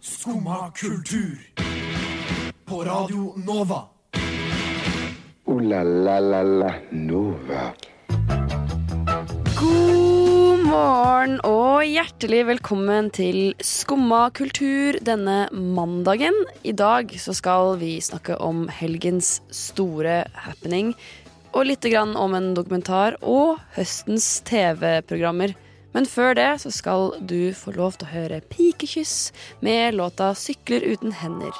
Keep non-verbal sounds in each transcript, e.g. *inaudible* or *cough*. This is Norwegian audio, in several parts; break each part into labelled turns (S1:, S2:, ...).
S1: Skumma kultur. På Radio Nova.
S2: Ooh la la la la Nova.
S3: God morgen og hjertelig velkommen til Skumma kultur denne mandagen. I dag så skal vi snakke om helgens store happening, og lite grann om en dokumentar og høstens TV-programmer. Men før det så skal du få lov til å høre Pikekyss med låta 'Sykler uten hender'.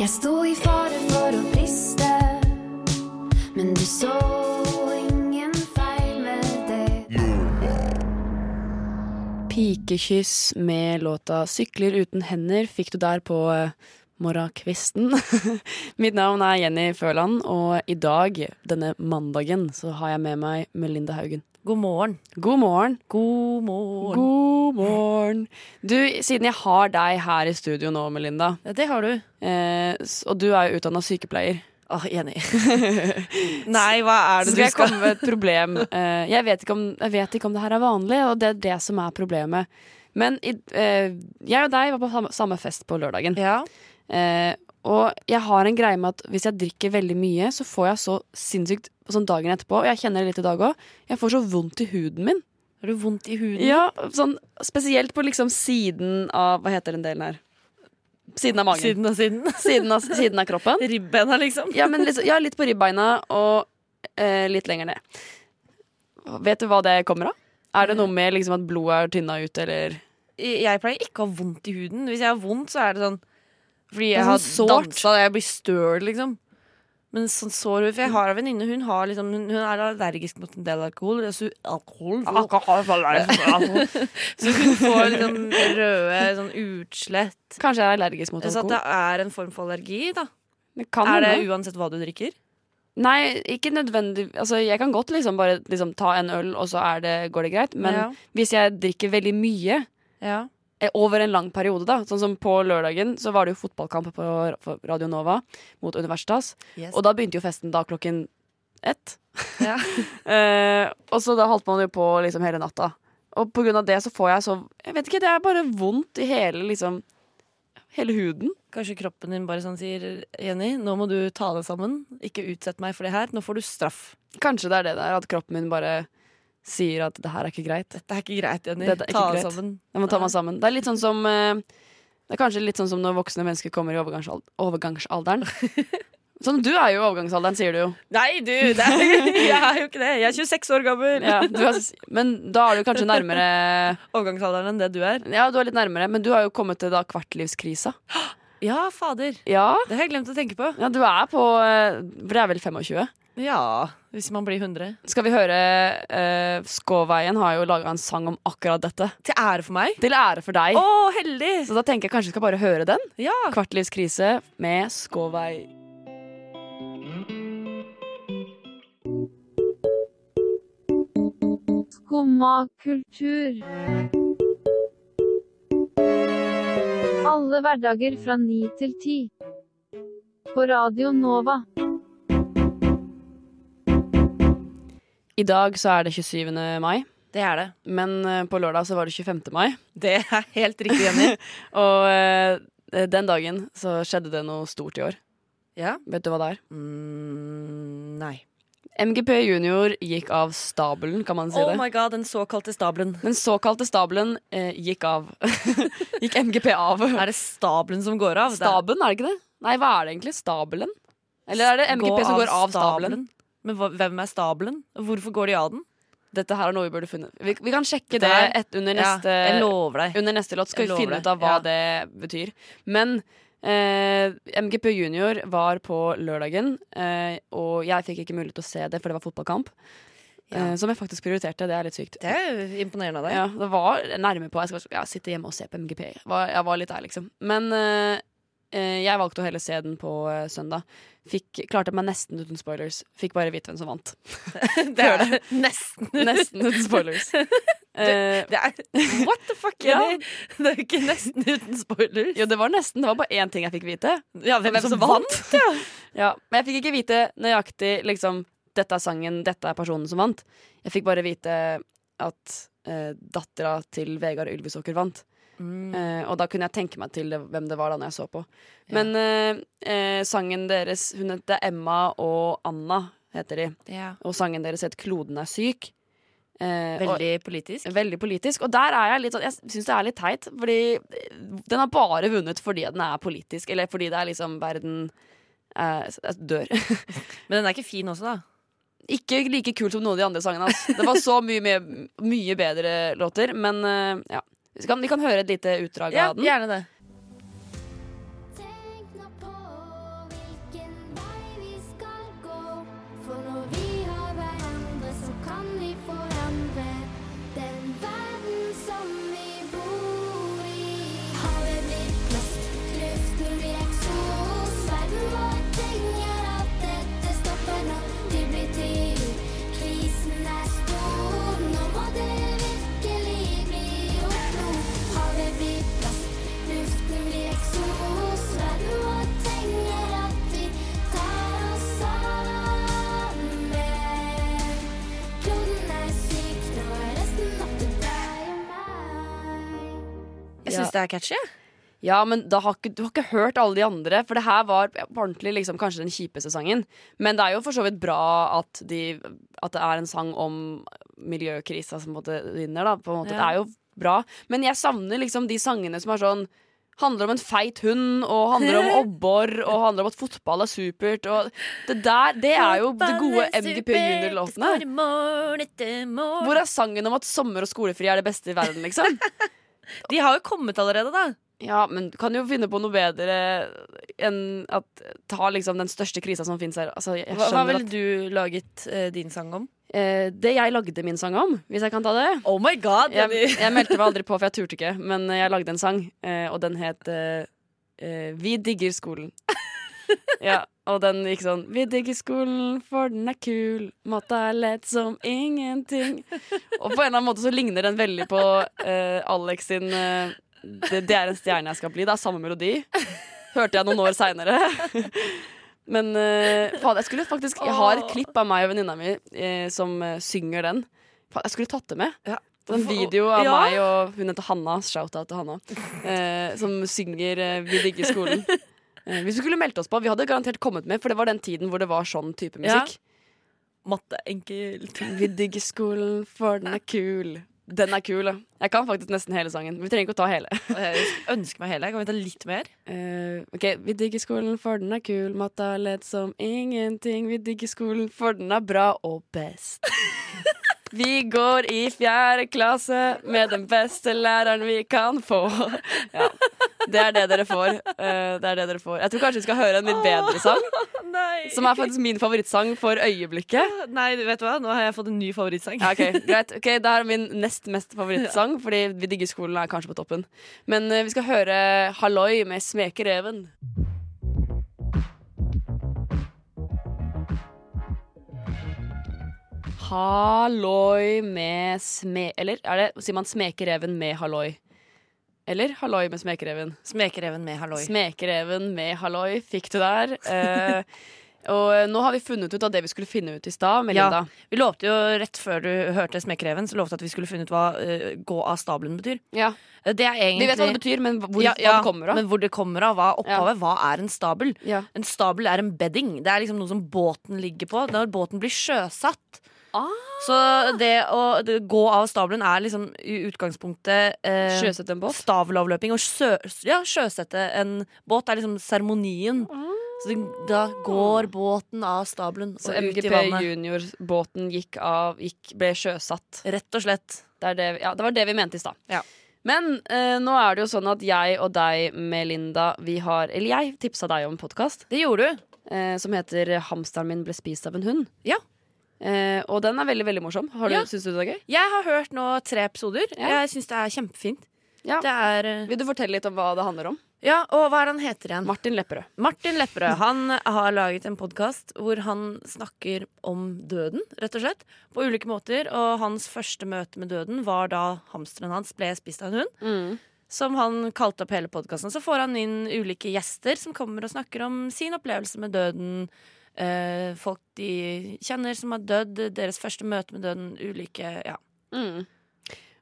S4: Jeg sto i fare for å briste, men du så ingen feil med det.
S3: Pikekyss med låta 'Sykler uten hender' fikk du der på eh, morgenkvisten. *laughs* Mitt navn er Jenny Føland, og i dag, denne mandagen, så har jeg med meg Melinda Haugen.
S5: God morgen.
S3: God morgen.
S5: God morgen.
S3: God morgen. Du, siden jeg har deg her i studio nå, Melinda,
S5: Ja, det har du.
S3: eh, s- og du er jo utdanna sykepleier
S5: Åh, enig. *laughs* Nei, hva er
S3: Så skal
S5: det du
S3: jeg
S5: skal
S3: komme med et
S5: *laughs*
S3: problem. Eh, jeg, vet ikke om, jeg vet ikke om det her er vanlig, og det er det som er problemet. Men i, eh, jeg og deg var på samme- samme fest på lørdagen.
S5: Ja.
S3: Eh, og jeg har en greie med at hvis jeg drikker veldig mye, så får jeg så sinnssykt sånn dagen etterpå, og jeg kjenner det litt i dag òg, jeg får så vondt i huden min.
S5: Har du vondt i huden?
S3: Ja, sånn Spesielt på liksom siden av Hva heter den delen her? Siden av magen. Siden,
S5: Siden og siden. *laughs*
S3: av, siden av kroppen.
S5: Ribbeina, liksom.
S3: Ja, men liksom, ja, litt på ribbeina og eh, litt lenger ned. Vet du hva det kommer av? Er det noe med liksom at blodet er tynna ut, eller
S5: Jeg pleier ikke å ha vondt i huden. Hvis jeg har vondt, så er det sånn Fordi
S3: Det er
S5: jeg har
S3: sånn sårt.
S5: dansa, jeg blir støl, liksom. Men sånn sår For jeg har en venninne, hun, har liksom, hun, hun er allergisk mot en del alkohol. Så alkohol, *laughs* så hun får liksom røde sånn utslett.
S3: Kanskje jeg er allergisk mot
S5: Så at det
S3: alkohol?
S5: er en form for allergi, da.
S3: Det kan
S5: Er det
S3: hende.
S5: uansett hva du drikker?
S3: Nei, ikke nødvendig Altså, jeg kan godt liksom bare liksom, ta en øl, og så er det, går det greit. Men
S5: Ja.
S3: hvis jeg drikker veldig mye
S5: Ja.
S3: eh, over en lang periode, da Sånn som på lørdagen, så var det jo fotballkamp på Ra- for Radio Nova mot Universitas. Og da begynte jo festen da klokken ett.
S5: Ja.
S3: *laughs* Eh, og så da holdt man jo på liksom hele natta. Og på grunn av det så får jeg så Jeg vet ikke, det er bare vondt i hele liksom Hele huden.
S5: Kanskje kroppen din bare sånn sier Jenny, nå må du ta deg sammen. Ikke utsett meg for det her. Nå får du straff.
S3: Kanskje det er det der at kroppen min bare sier at det her er ikke greit.
S5: Dette er ikke greit, Jenny.
S3: Dette er ikke
S5: ta deg
S3: greit.
S5: sammen.
S3: Jeg må ta meg sammen. Det er litt sånn som eh, Det er kanskje litt sånn som når voksne mennesker kommer i overgangsal-
S5: *laughs*
S3: overgangsalderen. Sånn, Du er jo i overgangsalderen, sier du jo.
S5: Nei, du! Det er, jeg er jo ikke *laughs* det. Jeg er 26 år gammel.
S3: Ja, *laughs* du er, men da er du kanskje nærmere
S5: Overgangsalderen enn det du er.
S3: Ja, du er litt nærmere, men du har jo kommet til da kvartlivskrisa.
S5: Ja, fader.
S3: Ja,
S5: Det har jeg glemt å tenke på.
S3: ja du er på eh, For det er vel 25?
S5: Ja, hvis man blir 100.
S3: Skal vi høre eh, Skåveien har jo laga en sang om akkurat dette.
S5: Til ære for meg.
S3: Til ære for deg.
S5: Å, heldig!
S3: Så da tenker jeg kanskje vi skal bare høre den.
S5: Ja.
S3: Kvartlivskrise med Skåvei.
S6: Skumma kultur. Alle hverdager fra 9 til 10. På Radio Nova.
S3: I dag så er det 27. mai,
S5: Det er det.
S3: men eh, på lørdag så var det 25. mai.
S5: Det er helt riktig,
S3: *laughs*
S5: Jenny.
S3: Og eh, den dagen så skjedde det noe stort i år.
S5: ja.
S3: Vet du hva det er?
S5: Mm, nei.
S3: MGP junior gikk av stabelen, kan man si
S5: Oh
S3: det.
S5: my god, den såkalte stabelen.
S3: Den såkalte stabelen eh, gikk av. *laughs* gikk MGP av.
S5: Er det stabelen som går av? Det er-
S3: Staben, er det ikke det? Nei, hva er det egentlig? Stabelen? Eller er det MGP som går av stabelen?
S5: Men hva, hvem er stabelen? Og Hvorfor går de av den?
S3: Dette her er noe vi burde funnet Vi, vi kan sjekke det
S5: Der.
S3: et, under, neste,
S5: ja, jeg lover deg.
S3: under neste låt. Skal vi
S5: Jeg lover
S3: finne
S5: det,
S3: ut av hva
S5: ja.
S3: det betyr. Men eh, MGP Junior var på lørdagen, eh, og jeg fikk ikke mulighet til å se det, for det var fotballkamp.
S5: Ja.
S3: Eh, som jeg faktisk prioriterte. Det er litt sykt.
S5: Det er jo imponerende av deg.
S3: Ja, det var nærme på. Jeg skal ja, sitte hjemme og se på MGP. Jeg var, jeg var litt der, liksom. Men eh, eh, jeg valgte å heller se den på eh, søndag. Fikk, klarte meg nesten uten spoilers. Fikk bare vite hvem som
S5: *laughs*
S3: vant.
S5: *laughs* det er det. Nesten.
S3: Nesten uten spoilers. Eh,
S5: Det er, *laughs* what the fuck,
S3: Ja.
S5: Jenny? Det er jo ikke nesten uten spoilers.
S3: jo, det var nesten. Det var bare én ting jeg fikk vite.
S5: Ja, hvem, som, vant?
S3: *laughs* Ja, men jeg fikk ikke vite nøyaktig liksom, dette er sangen, dette er personen som vant. Jeg fikk bare vite at eh, dattera til Vegard Ylvisåker vant.
S5: Mm.
S3: Eh, og da kunne jeg tenke meg til det, hvem det var da når jeg så på. Men eh, eh, sangen deres Hun heter Emma og Anna, heter de.
S5: Ja.
S3: Og sangen deres heter 'Kloden er syk'. Eh, og-
S5: Veldig politisk.
S3: Veldig politisk. Og der er jeg litt sånn Jeg syns det er litt teit, fordi den har bare vunnet fordi den er politisk, eller fordi det er liksom verden eh, dør. *laughs*
S5: Men den er ikke fin også, da.
S3: Ikke like kult som noen av de andre sangene hans. Det var så mye, mye, mye bedre låter, men eh, ja. Vi kan, vi kan høre et lite utdrag av den.
S5: gjerne det.
S4: Tenk nå på hvilken vei vi skal gå. For når vi har hverandre, så kan vi forandre den verden som vi bor i. Havet blir plast, luften blir eksos. Verden vår trenger at dette stopper nå. Det blir tid, krisen er stor. Nå må det virkelig bli gjort noe. Havet blir plast. Luften blir eksos, verden vår trenger at vi tar oss sammen. Kloden er syk, nå er resten opp til deg og meg.
S5: Jeg
S3: Ja.
S5: syns det er catchy.
S3: Ja, men da har ikke, du har ikke hørt alle de andre, for det her var på ordentlig liksom, kanskje den kjipeste sangen. Men det er jo for så vidt bra at, de, at det er en sang om miljøkrisa som på en måte vinner, da. På en måte.
S5: Ja.
S3: Det er jo bra. Men jeg savner liksom de sangene som er sånn Handler om en feit hund, og handler om obbor, og handler om at fotball er supert. Og det der, det er jo det gode MGP Junior-låtene. Hvor er sangen om at sommer og skolefri er det beste i verden, liksom?
S5: De har jo kommet allerede, da.
S3: Ja, men du kan jo finne på noe bedre enn at ta liksom den største krisa som fins her. Altså, jeg
S5: Hva, hva
S3: skjønner
S5: ville du laget eh, din sang om?
S3: at eh, Det jeg lagde min sang om, hvis jeg kan ta det
S5: Oh my god!
S3: Jeg, jeg meldte meg aldri på, for jeg turte ikke, men jeg lagde en sang, eh, og den het eh, eh, Vi digger skolen. Ja, og den gikk sånn Vi digger skolen, for den er kul. Matta er lett som ingenting. Og på en eller annen måte så ligner den veldig på eh, Alex sin eh, det, det er en stjerne jeg skal bli. Det er samme melodi. Hørte jeg noen år seinere. *laughs* Men eh, faen, jeg skulle faktisk Jeg har et klipp av meg og venninna mi eh, som eh, synger den. Faen, jeg skulle tatt det med.
S5: Ja.
S3: Det er en video av
S5: Ja.
S3: meg og hun heter Hanna, shout-out til
S5: *laughs*
S3: Hanna, eh, som synger eh, 'Vi digger skolen'. Eh, hvis vi skulle meldt oss på, vi hadde garantert kommet med, for det var den tiden hvor det var sånn type
S5: Ja.
S3: musikk.
S5: Matte enkelt.
S3: Vi digger skolen, for den er kul. Den er kul, ja. Jeg kan faktisk nesten hele sangen. Vi trenger ikke å ta hele.
S5: Jeg ønsker meg hele. Kan vi ta litt mer?
S3: Eh, ok, Vi digger skolen, for den er kul. Matta er lett som ingenting. Vi digger skolen, for den er bra og best. Vi går i fjerde klasse med den beste læreren vi kan få. Ja, Det er det dere får. Eh, det er det dere får. Jeg tror kanskje vi skal høre en litt bedre sang,
S5: *laughs* Nei.
S3: som er faktisk min favorittsang for øyeblikket.
S5: Nei, du vet hva? Nå har jeg fått en ny favorittsang.
S3: Ja, ok, greit. Ok, Det er min nest mest favorittsang, fordi Vi digger skolen er kanskje på toppen. Men eh, vi skal høre Halloi med Smekereven. Halloi med sme... Eller er det, sier man Smekereven med halloi? Eller halloi med Smekereven?
S5: Smekereven med halloi.
S3: Smekereven med halloi fikk du der. Eh, og nå har vi funnet ut av det vi skulle finne ut i stad. Melinda.
S5: Ja, vi lovte jo rett før du hørte Smekereven, så lovte at vi skulle funne ut hva eh, gå av stabelen betyr.
S3: Ja.
S5: Eh, Det er egentlig
S3: Vi vet hva det betyr, men hvor,
S5: Ja,
S3: hva
S5: ja,
S3: det kommer av.
S5: Men hvor det kommer av, hva er opphavet, hva er en stabel?
S3: Ja.
S5: En stabel er en bedding. Det er liksom noe som båten ligger på når båten blir sjøsatt.
S3: Ah.
S5: Så det å det, gå av stabelen er liksom i utgangspunktet eh,
S3: Sjøsette en båt?
S5: Stavelavløping og sjø, ja, sjøsette en båt er liksom seremonien. Så det- da går båten av stabelen
S3: Så
S5: og ut i
S3: MGP
S5: vannet.
S3: Junior-båten gikk av, gikk, ble sjøsatt.
S5: Rett og slett.
S3: Det, er det, ja, det var det vi mente i stad.
S5: Ja.
S3: Men eh, nå er det jo sånn at jeg og deg, Melinda, vi har Eller jeg tipsa deg om en podkast
S5: Det gjorde du.
S3: eh, som heter 'Hamsteren min ble spist av en hund'.
S5: Ja.
S3: Eh, og den er veldig veldig morsom. Har du,
S5: Ja.
S3: Syns du det er gøy?
S5: Jeg har hørt nå tre episoder.
S3: Ja.
S5: Jeg syns det er kjempefint.
S3: Ja.
S5: Det er eh,
S3: Vil du fortelle litt om hva det handler om?
S5: Ja, og hva er det han heter igjen?
S3: Martin Lepperød.
S5: Martin Lepperød han har laget en podkast hvor han snakker om døden, rett og slett. På ulike måter. Og hans første møte med døden var da hamsteren hans ble spist av en hund.
S3: Mm.
S5: Som han kalte opp hele podkasten. Så får han inn ulike gjester som kommer og snakker om sin opplevelse med døden. eh, folk de kjenner som har dødd, deres første møte med døden, ulike Ja.
S3: Mm.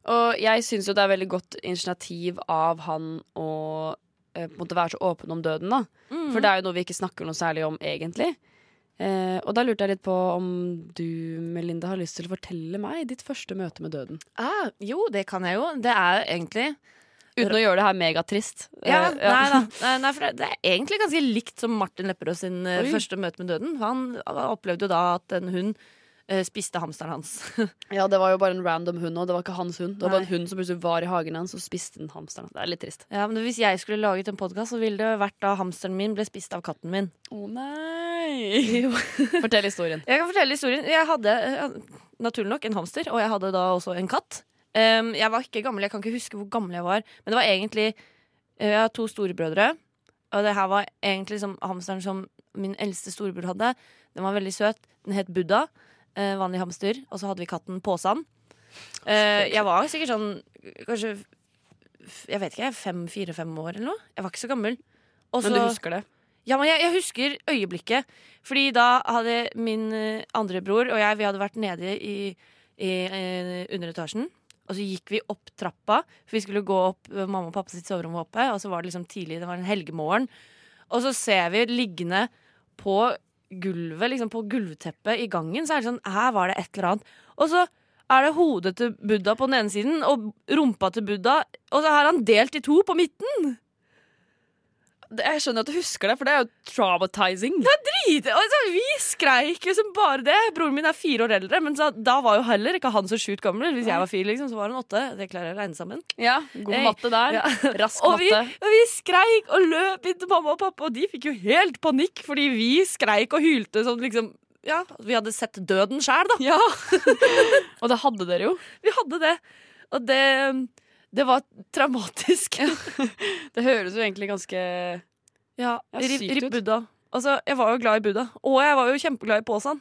S3: Og jeg syns jo det er veldig godt initiativ av han å eh, på en måte være så åpen om døden, da.
S5: Mm.
S3: For det er jo noe vi ikke snakker noe særlig om, egentlig. Eh, og da lurte jeg litt på om du, Melinda, har lyst til å fortelle meg ditt første møte med døden.
S5: Ah, jo, det kan jeg jo. Det er egentlig
S3: Uten å gjøre det her megatrist. Eh,
S5: Ja, nei *laughs*
S3: *laughs*
S5: da. Nei, Nei, for det- det er egentlig ganske likt som Martin Lepperød sin eh,
S3: Oi.
S5: første møte med døden. Han opplevde jo da at en hund eh, spiste hamsteren hans.
S3: Ja, det var jo bare en random hund, og det var ikke hans hund. Det var
S5: Nei.
S3: bare en hund som plutselig var i hagen hans og spiste den hamsteren. Det er litt trist.
S5: ja, men Hvis jeg skulle laget en podkast, så ville det vært da hamsteren min ble spist av katten min.
S3: Å *laughs* nei! Fortell historien.
S5: Jeg kan fortelle historien. Jeg hadde eh, naturlig nok en hamster, og jeg hadde da også en katt. Em, jeg var ikke gammel, jeg kan ikke huske hvor gammel jeg var. Men det var egentlig eh, Jeg har to storebrødre, og det her var egentlig som hamsteren som min eldste storebror hadde. Den var veldig søt. Den het Buddha. eh, vanlig hamster. Og så hadde vi katten Påsan. Eh, jeg var sikkert sånn kanskje f- Jeg vet ikke, fem, fire-fem år eller noe. Jeg var ikke så gammel. Og
S3: Men du
S5: så-
S3: husker det?
S5: ja, men jeg, jeg husker øyeblikket. Fordi da hadde min eh, andre bror og jeg Vi hadde vært nede i, i eh, underetasjen. Og så gikk vi opp trappa, for vi skulle gå opp eh, mamma og pappa sitt soverom. var oppe Og så var det liksom tidlig, det var en helgemorgen. Og så ser vi liggende på gulvet, liksom på gulvteppet i gangen, så er det sånn Her var det et eller annet. Og så er det hodet til Buddha på den ene siden og rumpa til Buddha, og så er han delt i to på midten.
S3: Jeg skjønner at du husker det, for det er jo traumatizing.
S5: lite. Og så, vi skreik jo som bare det. Broren min er fire år eldre, men så, da var jo heller ikke han så sjukt gammel. Hvis jeg var fire, liksom, så var han åtte. Det klarer jeg å regne sammen.
S3: Ja, God
S5: Hey.
S3: matte der.
S5: Ja.
S3: Rask
S5: Og vi,
S3: matte.
S5: og vi skreik og løp inn til mamma og pappa, og de fikk jo helt panikk fordi vi skreik og hylte som liksom Ja, vi hadde sett døden sjæl, da.
S3: Ja. *laughs* Og det hadde dere jo.
S5: Vi hadde det. Og det det var traumatisk.
S3: Det høres jo egentlig ganske
S5: *laughs* Ja,
S3: Ja,
S5: Ripp
S3: sykt
S5: rip
S3: ut.
S5: Buddha. Altså, jeg var jo glad i Buddha, og jeg var jo kjempeglad i Påsan.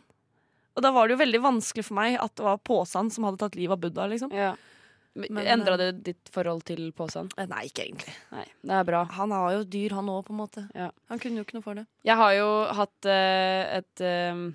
S5: Og da var det jo veldig vanskelig for meg at det var Påsan som hadde tatt livet av Buddha. liksom
S3: ja.
S5: Men,
S3: Endra det ditt forhold til påsen?
S5: Eh, Nei, ikke egentlig.
S3: Nei, det er bra.
S5: Han har jo dyr, han òg, på en måte.
S3: Ja.
S5: Han kunne jo ikke noe for det.
S3: Jeg har jo hatt eh, et eh,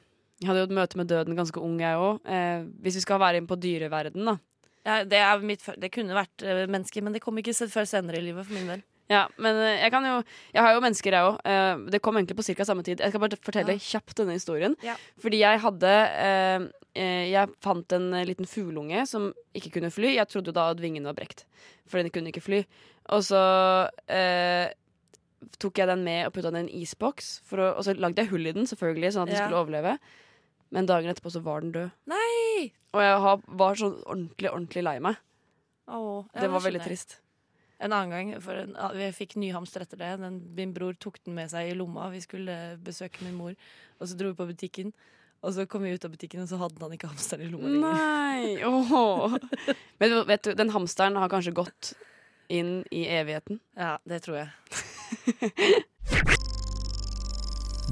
S3: Jeg hadde jo et møte med døden ganske ung, jeg òg. Eh, hvis vi skal være inn på dyreverden, da.
S5: Ja, det, er mitt, fø- det kunne vært eh, menneske, men det kom ikke se- før senere i livet for min del.
S3: Ja, men eh, jeg kan jo Jeg har jo mennesker, jeg òg. Eh, Det kom egentlig på ca. samme tid. Jeg skal bare fortelle
S5: Ja.
S3: kjapt denne historien.
S5: Ja.
S3: Fordi jeg hadde eh, eh, Jeg fant en eh, liten fugleunge som ikke kunne fly. Jeg trodde jo da at vingen var brekt, for den kunne ikke fly. Og så eh, tok jeg den med og putta den i en isboks, for å, og så lagde jeg hull i den, selvfølgelig, sånn at den
S5: Ja.
S3: skulle overleve. Men dagen etterpå så var den død.
S5: Nei!
S3: Og jeg har, var sånn ordentlig, ordentlig lei meg.
S5: Åh, ja,
S3: Det var
S5: skjønner
S3: veldig
S5: jeg.
S3: trist.
S5: En annen gang, for en, ah, Vi fikk ny hamster etter det. Den, min bror tok den med seg i lomma. Vi skulle eh, besøke min mor, og så dro vi på butikken. Og så kom vi ut av butikken, og så hadde han ikke hamsteren i lomma lenger.
S3: Nei! Åh. *laughs* Men du- vet du, den hamsteren har kanskje gått inn i evigheten.
S5: Ja, det tror jeg.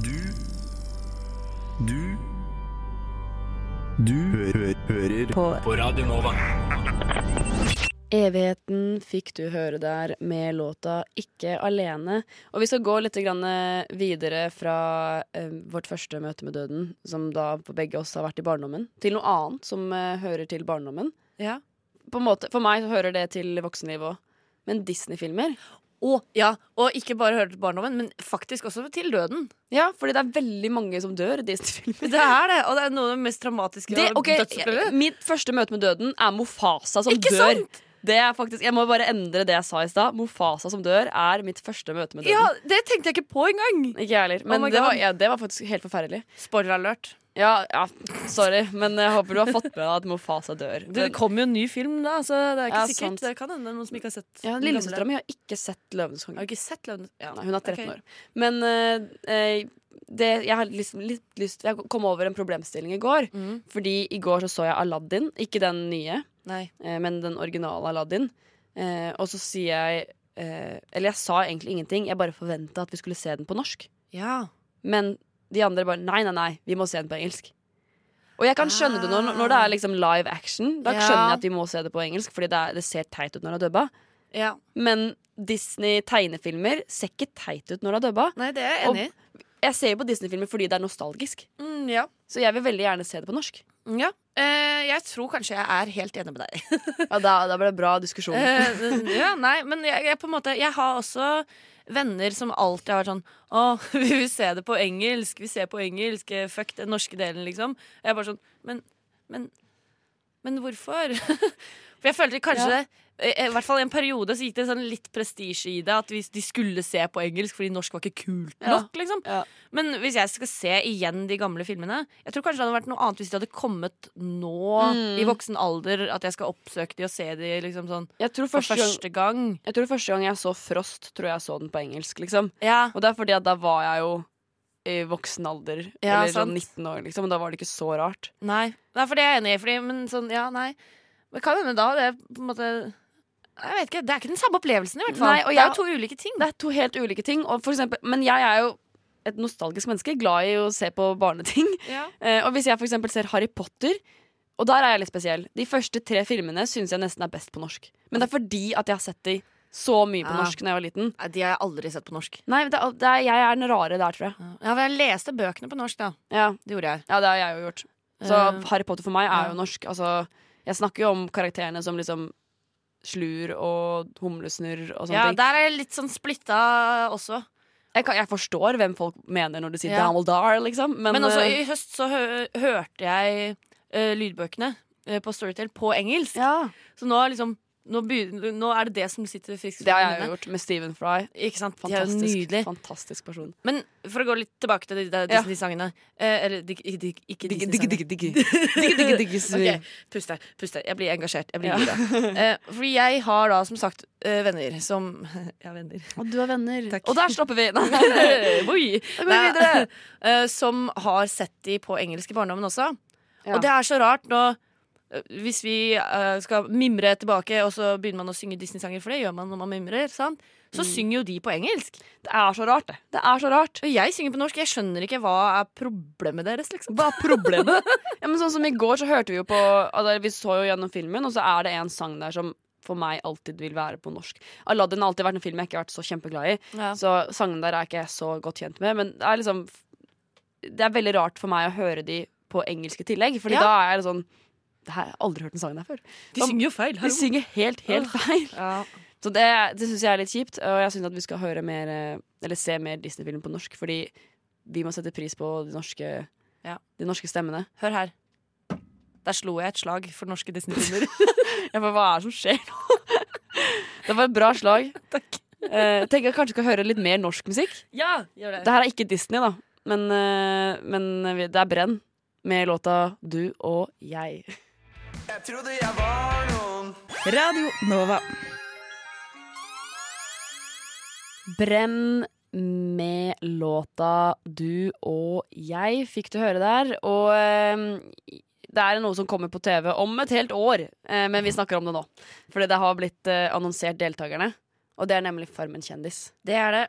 S1: Du Du Du hø hø hører på. på Radio Nova.
S3: Evigheten fikk du høre der med låta Ikke alene. Og vi skal gå litt grann eh, videre fra eh, vårt første møte med døden, som da på begge oss har vært i barndommen, til noe annet som eh, hører til barndommen.
S5: Ja.
S3: På en måte, For meg så hører det til voksenlivet òg. Men Disney-filmer
S5: Og, ja, og ikke bare høre til barndommen, men faktisk også til døden.
S3: Ja, fordi det er veldig mange som dør i Disney-filmer.
S5: Det er det, og det er noe av det mest traumatiske
S3: Det,
S5: jeg har
S3: ok,
S5: dødsopplevd.
S3: Mitt første møte med døden er Mofasa som
S5: Ikke
S3: dør.
S5: sant?
S3: Det er faktisk, Jeg må bare endre det jeg sa i stad. Mofasa som dør er mitt første møte med
S5: Ja,
S3: døden.
S5: det tenkte jeg ikke på engang!
S3: Ikke jeg heller. Men
S5: my
S3: det, var,
S5: God.
S3: ja, det var faktisk helt forferdelig.
S5: Spoiler alert.
S3: Ja, ja, sorry, men jeg håper du har fått med deg at Mofasa dør.
S5: Du, det kommer jo en ny film, da, så det er ikke
S3: Ja,
S5: sikkert.
S3: sant.
S5: Det kan hende noen som ikke har sett
S3: ja,
S5: den
S3: Lillesøstera
S5: gamle.
S3: mi har ikke sett 'Løvenes konge'.
S5: Har du ikke sett Løven? Ja.
S3: Nei, hun er 13
S5: Ok.
S3: år. Men eh, eh, det, jeg har liksom litt lyst Jeg kom over en problemstilling i går.
S5: Mm.
S3: Fordi i går så så jeg Aladdin. Ikke den nye,
S5: Nei.
S3: eh, men den originale Aladdin. Eh, og så sier jeg eh, Eller jeg sa egentlig ingenting, jeg bare forventa at vi skulle se den på norsk.
S5: Ja.
S3: Men de andre bare nei, nei, nei, vi må se den på engelsk. Og jeg kan skjønne det når, når det er liksom live action. Da
S5: Ja.
S3: skjønner jeg at vi må se det på engelsk, Fordi det, er, det ser teit ut når det er dubba.
S5: ja.
S3: Men Disney-tegnefilmer ser ikke teit ut når det er dubba.
S5: Nei, det er jeg
S3: Og-
S5: enig i.
S3: Jeg ser jo på Disney-filmer fordi det er nostalgisk.
S5: Mm, ja.
S3: Så jeg vil veldig gjerne se det på norsk.
S5: ja. Eh, jeg tror kanskje jeg er helt enig med deg.
S3: Ja, Da, da ble det bra diskusjon.
S5: Eh, ja, nei, men jeg, jeg, på en måte, jeg har også venner som alltid har vært sånn Å, *laughs* vi vil se det på engelsk. Vi ser på engelsk. eh, Fuck den norske delen, liksom. Og jeg er bare sånn Men, men, men hvorfor? *laughs* For jeg følte kanskje
S3: Ja.
S5: det eh, I hvert fall i en periode så gikk det sånn litt prestisje i det. At vi, de skulle se på engelsk fordi norsk var ikke kult
S3: Ja.
S5: nok. liksom
S3: Ja.
S5: Men hvis jeg skal se igjen de gamle filmene Jeg tror kanskje det hadde vært noe annet hvis de hadde kommet nå,
S3: Mm.
S5: i voksen alder. At jeg skal oppsøke de og se de liksom sånn
S3: Jeg tror,
S5: for
S3: første gang,
S5: første gang.
S3: jeg tror første gang jeg så Frost, tror jeg så den på engelsk. liksom
S5: Ja.
S3: Og det er fordi at da var jeg jo i voksen alder.
S5: Ja,
S3: eller sånn
S5: sant.
S3: 19 år, liksom. Og da var det ikke så rart.
S5: Nei. nei, for det er jeg enig i. Fordi, men sånn, ja, nei. Men kan hende da det er på en måte Jeg vet ikke, Det er ikke den samme opplevelsen, i hvert fall.
S3: Nei, og
S5: det er
S3: jeg-
S5: jo to ulike ting.
S3: Det er to helt ulike ting. Og for eksempel, men jeg er jo et nostalgisk menneske, glad i å se på barneting. *laughs*
S5: Ja.
S3: Eh, og hvis jeg for eksempel ser Harry Potter, og der er jeg litt spesiell De første tre filmene syns jeg nesten er best på norsk. Men det er fordi at jeg har sett de så mye på
S5: Ah.
S3: norsk da jeg var liten.
S5: Nei, De har jeg aldri sett på norsk.
S3: Nei, det er, det er, jeg er den rare der, tror jeg.
S5: Ja, for Jeg leste bøkene på norsk, da.
S3: Ja,
S5: Det gjorde jeg.
S3: ja det har jeg jo gjort. Så
S5: Eh,
S3: Harry Potter for meg
S5: ja.
S3: er jo norsk. Altså, jeg snakker jo om karakterene som liksom slur og humlesnurr og sånne
S5: ja,
S3: ting.
S5: der er jeg litt sånn splitta også.
S3: Jeg, kan, jeg forstår hvem folk mener når de sier
S5: Ja.
S3: Dumbledore, liksom. Men,
S5: Men også
S3: eh,
S5: i høst så hø hørte jeg eh, lydbøkene eh, på Storytel på engelsk.
S3: ja.
S5: Så nå, er liksom, nå, begyn- nå er det det som sitter friskest
S3: Det har
S5: i
S3: jeg jo
S5: minnet.
S3: gjort med Stephen Fry.
S5: Ikke sant? De er jo
S3: Fantastisk,
S5: nydelige.
S3: fantastisk person.
S5: Men for å gå litt tilbake til de, de
S3: Ja.
S5: Disney-sangene eh, Eller de, de, de, ikke
S3: Digge, digge,
S5: Disney-sangene.
S3: digge, digge.
S5: *laughs*
S3: digge, digge, digge,
S5: Ok, puste, puste. Jeg blir engasjert. Jeg blir
S3: Ja.
S5: gira.
S3: *laughs*
S5: Eh, fordi jeg har da som sagt eh, venner som *laughs* Ja, venner.
S3: Og du har venner.
S5: Takk.
S3: Og der stopper vi! *laughs* Nei.
S5: *laughs* Oi.
S3: Da går vi
S5: Nei,
S3: videre.
S5: *laughs* eh, som har sett de på engelsk i barndommen også.
S3: Ja.
S5: Og det er så rart nå eh, hvis vi eh, skal mimre tilbake, og så begynner man å synge Disney-sanger, for det gjør man når man mimrer, sant? så
S3: Mm.
S5: synger jo de på engelsk.
S3: Det er så rart, det. Det er så rart.
S5: Og jeg synger på norsk. Jeg skjønner ikke hva er problemet deres, liksom.
S3: Hva er problemet? ja, men sånn som I går så hørte vi jo på altså, Vi så jo gjennom filmen, og så er det en sang der som for meg alltid vil være på norsk. Aladdin har alltid vært en film jeg ikke har vært så kjempeglad i,
S5: *laughs* Ja.
S3: så sangene der er ikke jeg så godt kjent med. Men det er liksom Det er veldig rart for meg å høre de på engelsk i tillegg, Fordi
S5: Ja.
S3: da er jeg sånn Det her, jeg har aldri hørt den sangen her før.
S5: De synger jo feil.
S3: De synger helt, helt feil.
S5: Ja.
S3: Så det, det syns jeg er litt kjipt, og jeg syns at vi skal høre mer eh, Eller se mer Disney-film på norsk, fordi vi må sette pris på de norske,
S5: Ja.
S3: de norske stemmene.
S5: Hør her. Der slo jeg et slag for norske *laughs* Disney-filmer.
S3: Ja, for hva er det som skjer nå? *laughs* det var et bra *laughs* slag.
S5: Takk.
S3: Eh, tenker jeg kanskje skal høre litt mer norsk musikk.
S5: ja, gjør
S3: Det her er ikke Disney, da, men, eh, men vi- det er Brenn med låta 'Du og jeg'.
S7: Radio Nova.
S3: Brenn med låta 'Du og jeg' fikk du høre der. Og eh, det er noe som kommer på TV om et helt år, eh, men vi snakker om det nå. Fordi det har blitt eh, annonsert deltakerne, og det er nemlig Farmen kjendis.
S5: Det er det.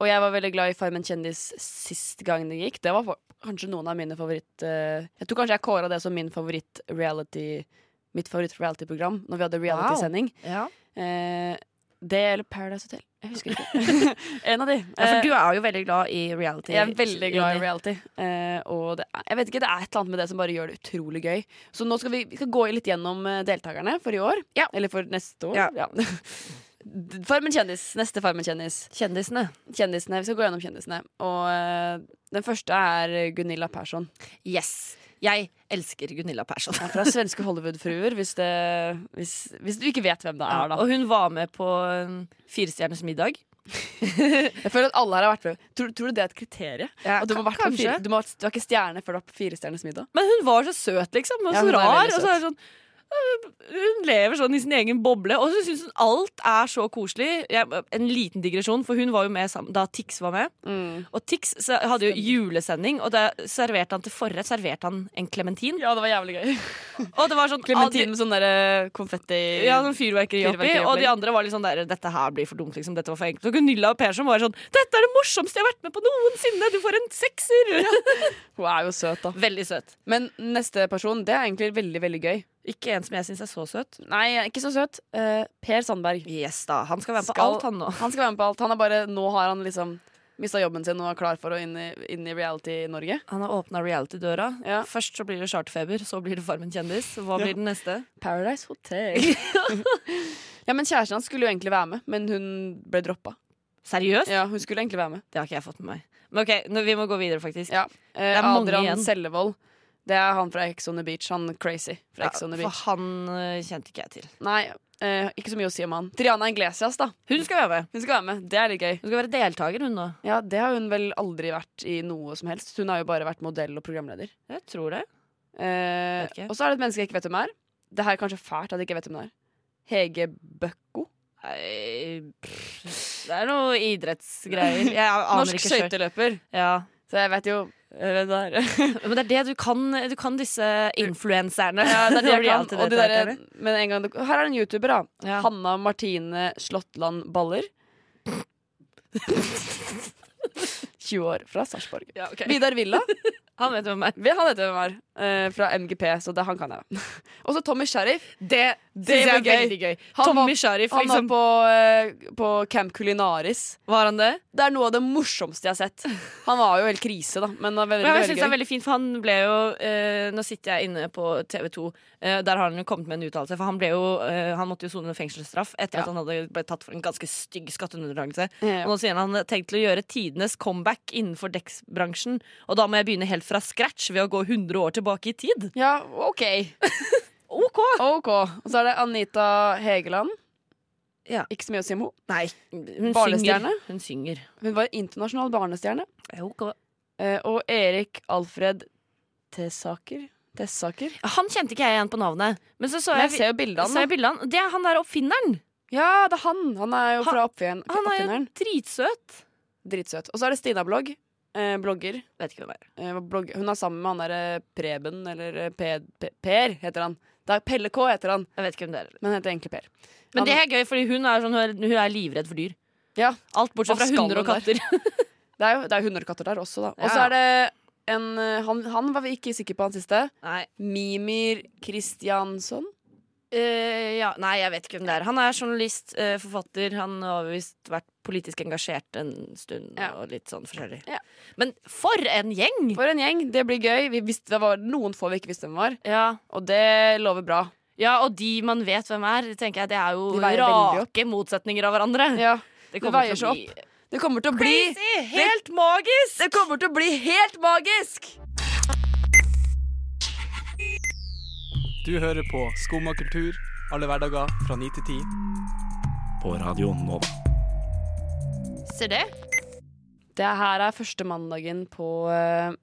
S3: Og jeg var veldig glad i Farmen kjendis sist gang det gikk. Det var for, kanskje noen av mine favoritt... eh, jeg tror kanskje jeg kåra det som min favoritt-reality... Mitt favoritt-reality-program når vi hadde reality-sending. Eh, det eller Paradise Hotel. Jeg husker ikke.
S5: *laughs*
S3: *laughs* en av de.
S5: Ja,
S3: Eh,
S5: for du er jo veldig glad i reality.
S3: jeg er veldig glad i reality. Eh, og det er, jeg vet ikke, det er et eller annet med det som bare gjør det utrolig gøy. Så nå skal vi, vi skal gå litt gjennom eh, deltakerne for i år.
S5: Ja.
S3: Eller for neste år.
S5: Ja.
S3: *laughs* Farmen kjendis. Neste Farmen kjendis.
S5: Kjendisene.
S3: Kjendisene, Vi skal gå gjennom kjendisene. Og eh, den første er Gunilla Persson.
S5: Yes. Jeg elsker Gunilla Persson. *laughs*
S3: Fra svenske Hollywood-fruer, hvis, det- hvis, hvis du ikke vet hvem det er, da.
S5: Og hun var med på um, Firestjerners middag.
S3: Jeg føler at alle her har vært med. Tror, tror du det er et kriterium?
S5: Ja,
S3: At du, må ha vært på fire, du, må, ha- du er ikke stjerne før du er på Firestjerners middag?
S5: Men hun var så søt, liksom. Og
S3: Ja,
S5: så
S3: hun er
S5: rar.
S3: veldig
S5: Og så er det sånn øh, hun lever sånn i sin egen boble, og så syns hun alt er så koselig. Jeg, en liten digresjon, for hun var jo med sam- da Tix var med. Og Tix se- hadde jo julesending, og da serverte han til forrett serverte han en klementin.
S3: Ja, det var jævlig gøy.
S5: Og det var sånn
S3: Klementin med sånn der konfetti
S5: ah, de- ja, sånn fyrverkeri oppi,
S3: Fyrverkeri oppi.
S5: og de andre var litt sånn der Dette her blir for dumt, liksom. Dette var for enkelt. Og Gunilla og Persson var sånn Dette er det morsomste jeg har vært med på noensinne! Du får en sekser!
S3: Hun er jo søt, da.
S5: *laughs* Veldig søt.
S3: Men neste person, det er egentlig veldig, veldig gøy.
S5: Ikke en som jeg syns er så søt.
S3: Nei, ikke så søt. Eh, per Sandberg.
S5: Yes da, Han skal være med på
S3: Skal- *laughs*
S5: alt, han nå.
S3: Han skal være med på alt. Han er bare, nå har han liksom mista jobben sin og er klar for å inn i, inn i reality-Norge.
S5: Han har åpna reality-døra.
S3: Ja.
S5: Først så blir det charterfeber, så blir det Farmen kjendis. Hva blir den neste?
S3: Paradise Hotel. *laughs* ja, men kjæresten hans skulle jo egentlig være med, men hun ble droppa.
S5: Seriøst?
S3: Ja, hun skulle egentlig være med.
S5: Det har ikke jeg fått med meg. Men ok, nå, vi må gå videre, faktisk.
S3: Ja. Eh,
S5: er mange
S3: Adrian
S5: igjen.
S3: Sellevold. Det er han fra Ex on the Beach. Han crazy fra Ex on the
S5: for
S3: Beach.
S5: han eh, kjente ikke jeg til.
S3: Nei, eh, ikke så mye å si om han. Triana Iglesias, da.
S5: Hun skal være med.
S3: Hun skal være med. Det er litt gøy.
S5: Hun skal være deltaker, hun nå.
S3: Ja, Det har hun vel aldri vært i noe som helst. Hun har jo bare vært modell og programleder.
S5: Jeg tror det.
S3: Eh,
S5: Vet ikke.
S3: og så er det et menneske jeg ikke vet hvem er. Det her er kanskje fælt at jeg ikke vet hvem det er. Hege Bøkko.
S5: Nei, pff, det er noe idrettsgreier.
S3: *laughs*
S5: Jeg aner
S3: Norsk
S5: ikke selv.
S3: skøyteløper.
S5: Ja.
S3: Så jeg vet jo eh, hvem det er.
S5: *laughs* Men det er det du kan. Du kan disse influenserne.
S3: Ja,
S5: *laughs*
S3: *laughs* det er det
S5: Og
S3: jeg kan. Og de der,
S5: reality-deltakerne.
S3: men en gang, det- her er det en youtuber, da.
S5: Ja.
S3: Hanna Martine Slåttland Baller. *laughs* 20 år, fra Sarpsborg.
S5: Ja, ok.
S3: Vidar Villa.
S5: *laughs* Han vet hvem er.
S3: Vi- Han heter hvem er. eh, fra MGP, så det, han kan jeg. *laughs* Og så Tommy Sheriff.
S5: Det,
S3: synes jeg er veldig
S5: veldig gøy.
S3: Han
S5: Tommy
S3: var-
S5: Sharif,
S3: Han var
S5: liksom.
S3: på, eh, på Camp Culinaris.
S5: Var han det?
S3: Det er noe av det morsomste jeg har sett. Han var jo helt krise, da. Men det var veldig,
S5: Men jeg
S3: veldig
S5: synes det er
S3: gøy.
S5: veldig fint, for han ble jo eh, Nå sitter jeg inne på TV 2. der har han jo kommet med en uttalelse. For han, ble jo, eh, han måtte jo sone en fengselsstraff etter
S3: Ja.
S5: at han hadde ble tatt for en ganske stygg skatteunndragelse.
S3: Ja, ja.
S5: Og nå sier han han har tenkt til å gjøre tidenes comeback innenfor dekksbransjen. Og da må jeg begynne helt fra scratch ved å gå 100 år tilbake i tid.
S3: Ja, OK.
S5: OK!
S3: OK. Og så er det Anita Hegeland.
S5: Ja.
S3: Ikke så mye å si om henne.
S5: Nei, hun synger.
S3: Barnestjerne?
S5: Hun synger.
S3: Hun var internasjonal barnestjerne.
S5: OK.
S3: Eh, og Erik Alfred Tessaker. Tessaker?
S5: Han kjente ikke jeg igjen på navnet. Men så så
S3: Men jeg
S5: jeg,
S3: ser jo bildet av
S5: så jeg
S3: han. da.
S5: bildene. Det er han der oppfinneren.
S3: Ja, det er han! Han er jo
S5: Han-
S3: fra oppfin-
S5: Han er jo
S3: oppfinneren.
S5: dritsøt.
S3: Dritsøt. Og så er det Stina Blogg. Eh, blogger.
S5: Vet ikke hvem det er.
S3: Eh, blogg. Hun er sammen med han derre Preben, eller eh, Pe Pe Per, heter han. Det er Pelle K heter han,
S5: Jeg vet ikke hvem det er.
S3: men han heter egentlig Per.
S5: Men
S3: Han-
S5: det er gøy, fordi hun er, sånn, hun er, hun er livredd for dyr.
S3: Ja,
S5: Alt bortsett
S3: Hva
S5: fra
S3: skal
S5: hunder og
S3: hun der?
S5: katter.
S3: Det er jo det er hunder og katter der også, da. Og så
S5: Ja.
S3: er det en eh, han, han var vi ikke sikre på, han siste.
S5: *laughs* Nei.
S3: Mimir Kristiansson.
S5: Eh, ja. Nei, jeg vet ikke hvem det er. Han er journalist, eh, forfatter. Han har visst vært politisk engasjert en stund.
S3: Ja.
S5: Og litt sånn forskjellig
S3: Ja.
S5: Men for en gjeng!
S3: For en gjeng. Det blir gøy. Vi visste, det var noen få vi ikke visste hvem var,
S5: Ja.
S3: og det lover bra.
S5: ja, og de man vet hvem er, tenker jeg, det er jo
S3: De veier veldig opp.
S5: rake motsetninger av hverandre.
S3: Ja,
S5: Det
S3: veier
S5: til å
S3: seg
S5: bli
S3: Det kommer til å bli
S5: Crazy! Helt magisk!
S3: Det kommer til å bli helt magisk!
S8: Du hører på Skumma kultur alle hverdager fra 9 til 10.
S1: På Radio Nova.
S5: Ser det?
S3: Det her er første mandagen på eh,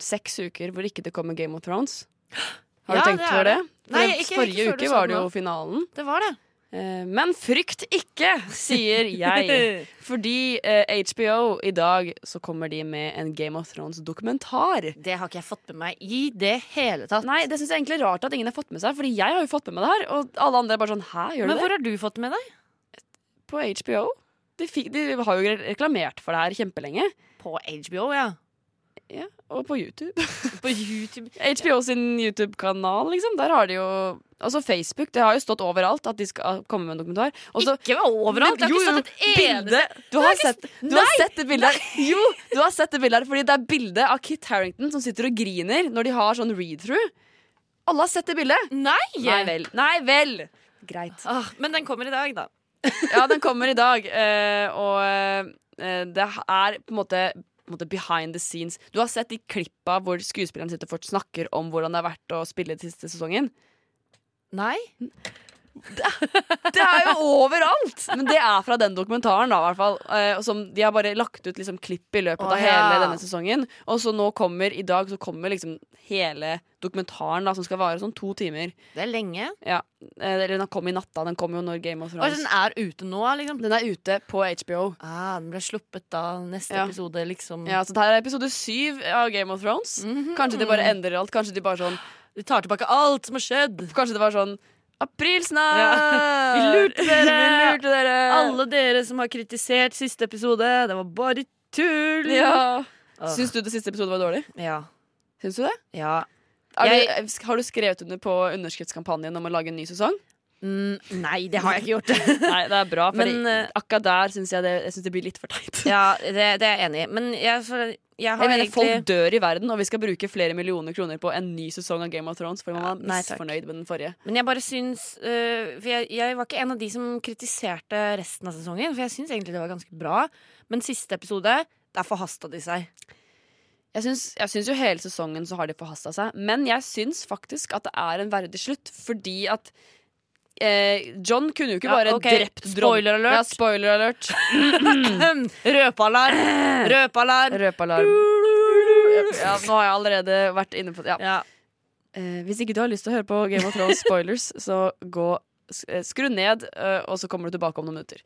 S3: seks uker hvor ikke det kommer Game of Thrones. Har
S5: Ja,
S3: du tenkt
S5: det er
S3: over det? For
S5: Nei, ikke- ikke
S3: forrige
S5: før du
S3: uke
S5: sa
S3: var
S5: det
S3: det jo
S5: nå.
S3: finalen.
S5: Det var det.
S3: Eh, men frykt ikke, sier
S5: *laughs*
S3: jeg. Fordi eh, HBO i dag så kommer de med en Game of Thrones-dokumentar.
S5: det har ikke jeg fått med meg i det hele tatt.
S3: Nei, Det syns jeg egentlig er rart at ingen har fått med seg, Fordi jeg har jo fått med meg det her. Og alle andre er bare sånn Hæ, gjør du
S5: Men
S3: det?
S5: hvor har du fått det med deg?
S3: På HBO? De, fikk, de har jo reklamert for det her kjempelenge.
S5: På HBO, ja.
S3: Ja, og på YouTube.
S5: På YouTube.
S3: HBO sin YouTube-kanal, liksom. Der har de jo Altså Facebook. Det har jo stått overalt at de skal komme med en dokumentar. Og så-
S5: ikke overalt. Jeg har
S3: Jo,
S5: ikke
S3: jo,
S5: sett et eneste
S3: bildet. Du har,
S5: Det er ikke-
S3: sett, du har sett det bildet her. *laughs* Jo, du har sett det bildet her Fordi det er bildet av Kit Harrington som sitter og griner når de har sånn read-through. Alle har sett det bildet.
S5: Nei!
S3: Nei vel. Nei vel. Greit.
S5: Ah, men den kommer i dag, da.
S3: Ja, den kommer i dag. eh, og eh, det er på en måte på en måte Behind the scenes Du har sett de klippa hvor skuespillerne sitter og fort snakker om hvordan det har vært å spille den siste sesongen.
S5: Nei?
S3: Det er jo overalt! Men det er fra den dokumentaren, da, i hvert fall. Eh, og som de har bare lagt ut liksom, klipp i løpet
S5: Å,
S3: av
S5: ja.
S3: hele denne sesongen. Og så nå kommer i dag så kommer liksom hele dokumentaren, da, som skal vare sånn to timer.
S5: Det er lenge.
S3: Ja. Eh, eller den kom i natta. Den kom jo når Game of
S5: Og
S3: Thrones
S5: den er ute nå, liksom.
S3: Den er ute på HBO.
S5: Ah, den ble sluppet da neste
S3: Ja.
S5: episode, liksom. Mhm.
S3: Ja, så det her er episode syv av Game of Thrones. Kanskje de bare endrer alt. Kanskje de bare sånn
S5: Vi tar tilbake alt som har skjedd.
S3: Kanskje det var sånn Aprilsnarr!
S5: Ja. *laughs* Vi lurte dere!
S3: *laughs* Vi lurte dere!
S5: Alle dere som har kritisert siste episode, det var bare tull!
S3: Ja.
S5: Ah.
S3: Syns du det siste episode var dårlig?
S5: Ja.
S3: Syns du det?
S5: ja.
S3: Er
S5: Jeg-
S3: du, har du skrevet under på underskriftskampanjen om å lage en ny sesong?
S5: Mm, nei, det har jeg ikke *laughs* gjort.
S3: *laughs* Nei, det er bra, for
S5: Men, eh,
S3: akkurat der syns jeg, det, jeg synes det blir litt for teit.
S5: ja, det, det er jeg enig i. Men jeg, for, jeg har
S3: *laughs* Jeg mener,
S5: egentlig
S3: Folk dør i verden, og vi skal bruke flere millioner kroner på en ny sesong av Game of Thrones fordi man
S5: Ja,
S3: er
S5: nei, takk.
S3: misfornøyd med den forrige.
S5: Men jeg bare syns øh, For jeg, jeg var ikke en av de som kritiserte resten av sesongen, for jeg syns egentlig det var ganske bra. Men siste episode, der forhasta de seg. *clears throat*
S3: Jeg syns, jeg syns jo hele sesongen så har de forhasta seg, men jeg syns faktisk at det er en verdig slutt, fordi at eh, John kunne jo ikke
S5: Ja,
S3: bare
S5: ok,
S3: drept dron-
S5: spoiler alert.
S3: Ja, spoiler
S5: *laughs*
S3: alert.
S5: Røpealarm! Røpealarm!
S3: Røpealarm. Ja, nå har jeg allerede vært inne på det. Ja.
S5: Ja.
S3: Eh, hvis ikke du har lyst til å høre på Game of Thrones spoilers, *laughs* så gå, s- eh, skru ned, eh, og så kommer du tilbake om noen minutter.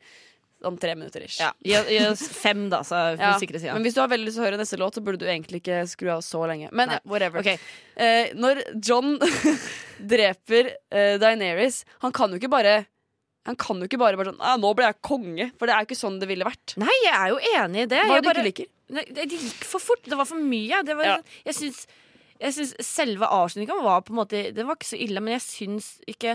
S3: Om tre minutter ish.
S5: ja. Gi gi oss fem, da, så er vi
S3: Ja,
S5: sikre sida.
S3: Men hvis du har veldig lyst til å høre neste låt, så burde du egentlig ikke skru av så lenge. Men
S5: Nei.
S3: eh, whatever.
S5: Ok.
S3: Eh, når John *laughs* dreper eh, Daenerys, han kan jo ikke bare Han kan jo ikke bare, bare sånn ah, 'Nå ble jeg konge', for det er jo ikke sånn det ville vært.
S5: Nei, jeg er jo enig i det.
S3: Hva er det
S5: Jeg
S3: du
S5: bare-
S3: ikke liker?
S5: Nei, det, det gikk for fort. Det var for mye. Det var, liksom,
S3: Ja.
S5: Jeg syns jeg syns selve avslutningen var på en måte Det var ikke så ille, men jeg syns ikke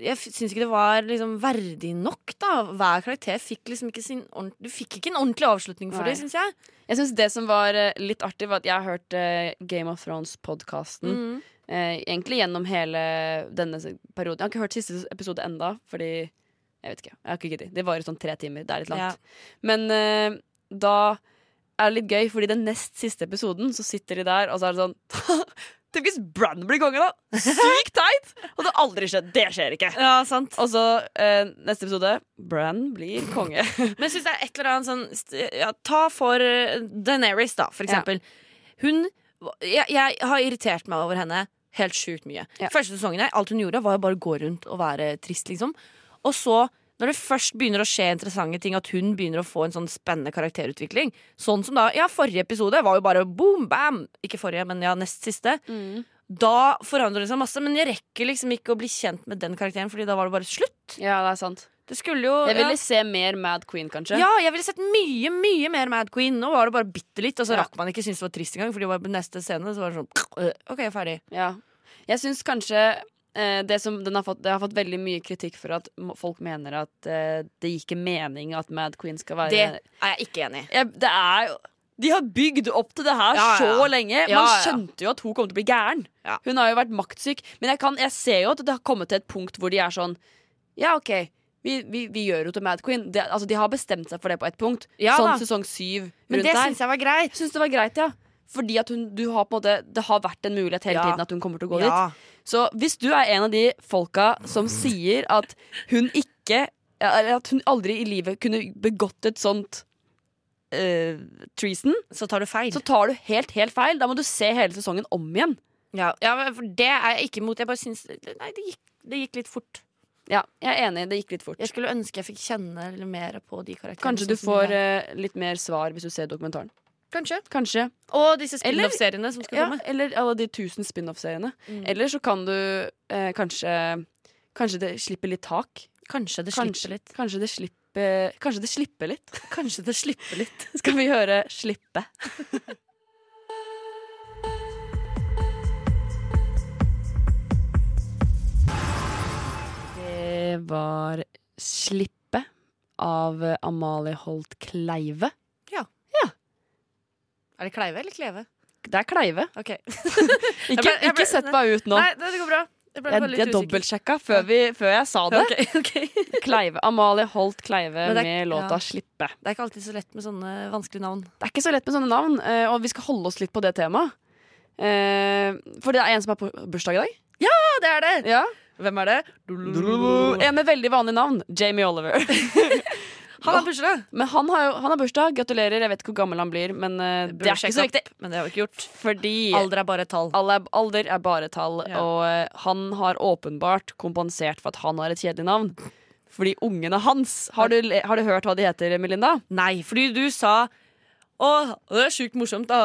S5: jeg f- syns ikke det var liksom verdig nok. da Hver karakter fikk liksom ikke sin ordent- Du fikk ikke en ordentlig avslutning for
S3: Nei.
S5: det, syns jeg.
S3: Jeg synes Det som var eh, litt artig, var at jeg har hørt eh, Game of Thrones-podkasten.
S5: Mm.
S3: eh, egentlig gjennom hele denne se- perioden. Jeg har ikke hørt siste episode enda, fordi jeg vet ikke. Jeg har ikke giddet. Det varer sånn tre timer. Det er litt langt. Men eh, da er det litt gøy, fordi den nest siste episoden så sitter de der, og så er det sånn *laughs* Tenk hvis Bran blir konge, da! Sykt *laughs* teit! Og det har aldri skjedd. Det skjer ikke.
S5: Ja, sant.
S3: Og så eh, neste episode Bran blir *laughs* konge.
S5: Men jeg syns det er et eller annet sånn st- ja, Ta for eh, Daenerys, da, for
S3: Ja.
S5: eksempel. Hun jeg, jeg har irritert meg over henne helt sjukt mye.
S3: Ja.
S5: Første sesongen her, alt hun gjorde, var jo bare å gå rundt og være trist, liksom. Og så, når det først begynner å skje interessante ting, at hun begynner å få en sånn spennende karakterutvikling Sånn som da Ja, forrige episode var jo bare boom, bam! Ikke forrige, men ja, nest siste.
S3: Mm.
S5: Da forandrer det seg masse, men jeg rekker liksom ikke å bli kjent med den karakteren, Fordi da var det bare slutt.
S3: Ja, det er sant.
S5: Det skulle jo
S3: Jeg
S5: ja.
S3: ville se mer Mad Queen, kanskje.
S5: Ja, jeg ville sett mye mye mer Mad Queen. Nå var det bare bitte litt, og så
S3: Ja.
S5: rakk man ikke synes det var trist engang. Fordi det var på neste scene så var det sånn øh, OK, ferdig.
S3: Ja. Jeg syns kanskje eh, det som den har fått, det har fått veldig mye kritikk for at mo- folk mener at eh, det gir ikke mening at Mad Queen skal være
S5: Det er jeg ikke enig i.
S3: jeg, det er jo de har bygd opp til det her
S5: Ja, ja, ja.
S3: så lenge. Man
S5: Ja, ja.
S3: skjønte jo at hun kom til å bli gæren.
S5: Ja.
S3: Hun har jo vært maktsyk. Men jeg, kan, jeg ser jo at det har kommet til et punkt hvor de er sånn Ja, OK, vi, vi, vi gjør henne til Mad Queen. Det, altså, de har bestemt seg for det på et punkt.
S5: Ja
S3: sånn
S5: da.
S3: sesong syv rundt
S5: Men det
S3: der.
S5: syns jeg var greit.
S3: Jeg syns det var greit, ja. Fordi at hun, du har på en måte, det har vært en mulighet hele
S5: Ja.
S3: tiden at hun kommer til å gå dit.
S5: Ja.
S3: Så hvis du er en av de folka som sier at hun ikke Eller at hun aldri i livet kunne begått et sånt eh, treason,
S5: Så tar du feil.
S3: så tar du helt, helt feil. Da må du se hele sesongen om igjen.
S5: ja. ja, men for det er jeg ikke imot. Jeg bare syns Nei, det gikk, det gikk litt fort.
S3: Ja, jeg er enig. Det gikk litt
S5: Jeg
S3: fort.
S5: skulle ønske jeg fikk kjenne litt mer på de karakterene.
S3: Kanskje du
S5: sånn som
S3: får
S5: de er.
S3: eh, litt mer svar hvis du ser dokumentaren.
S5: Kanskje.
S3: Kanskje.
S5: Og disse
S3: Eller-
S5: spin-off-seriene som skal
S3: Ja,
S5: komme.
S3: eller alle de tusen spin-off-seriene.
S5: Mm.
S3: Eller så kan du eh, kanskje Kanskje det slipper litt tak.
S5: Kanskje det
S3: Kanskje-
S5: slipper litt.
S3: Kanskje det slipper, kanskje det slipper litt. *laughs*
S5: Kanskje det slipper litt.
S3: Skal vi høre 'Slippe'? *laughs* Det var 'Slippe' av eh, Amalie Holt Kleive.
S5: Er det Kleive eller Kleve?
S3: Det er Kleive.
S5: OK.
S3: Ikke,
S5: ble- jeg ble-
S3: ikke sett meg ut nå.
S5: *laughs* Nei, det går bra. Jeg
S3: Jeg,
S5: ble bare litt
S3: jeg
S5: usikker.
S3: dobbeltsjekka før, vi- før jeg sa det.
S5: Ok, ok. *laughs*
S3: Kleive, Amalie Holt Kleive
S5: Men det er-
S3: med låta
S5: ja.
S3: 'Slippe'.
S5: Det er ikke alltid så lett med sånne vanskelige navn.
S3: Det er ikke så lett med sånne navn, eh, og vi skal holde oss litt på det temaet. Eh, For det er en som har på- bursdag i dag.
S5: Ja, det er det!
S3: Ja.
S5: Hvem er det?
S3: En med veldig vanlig navn. Jamie Oliver. *laughs*
S5: Han har bursdag!
S3: Men han har, jo, han har bursdag. Gratulerer. Jeg vet ikke hvor gammel han blir, men eh, det er ikke så viktig.
S5: Men det har vi ikke gjort.
S3: Fordi
S5: Alder er bare et tall.
S3: alle er, alder er bare tall,
S5: Ja.
S3: og eh, han har åpenbart kompensert for at han har et kjedelig navn. Fordi ungene hans Har du, le- har du hørt hva de heter, Melinda?
S5: Nei, fordi du sa å, det er sjukt morsomt, da.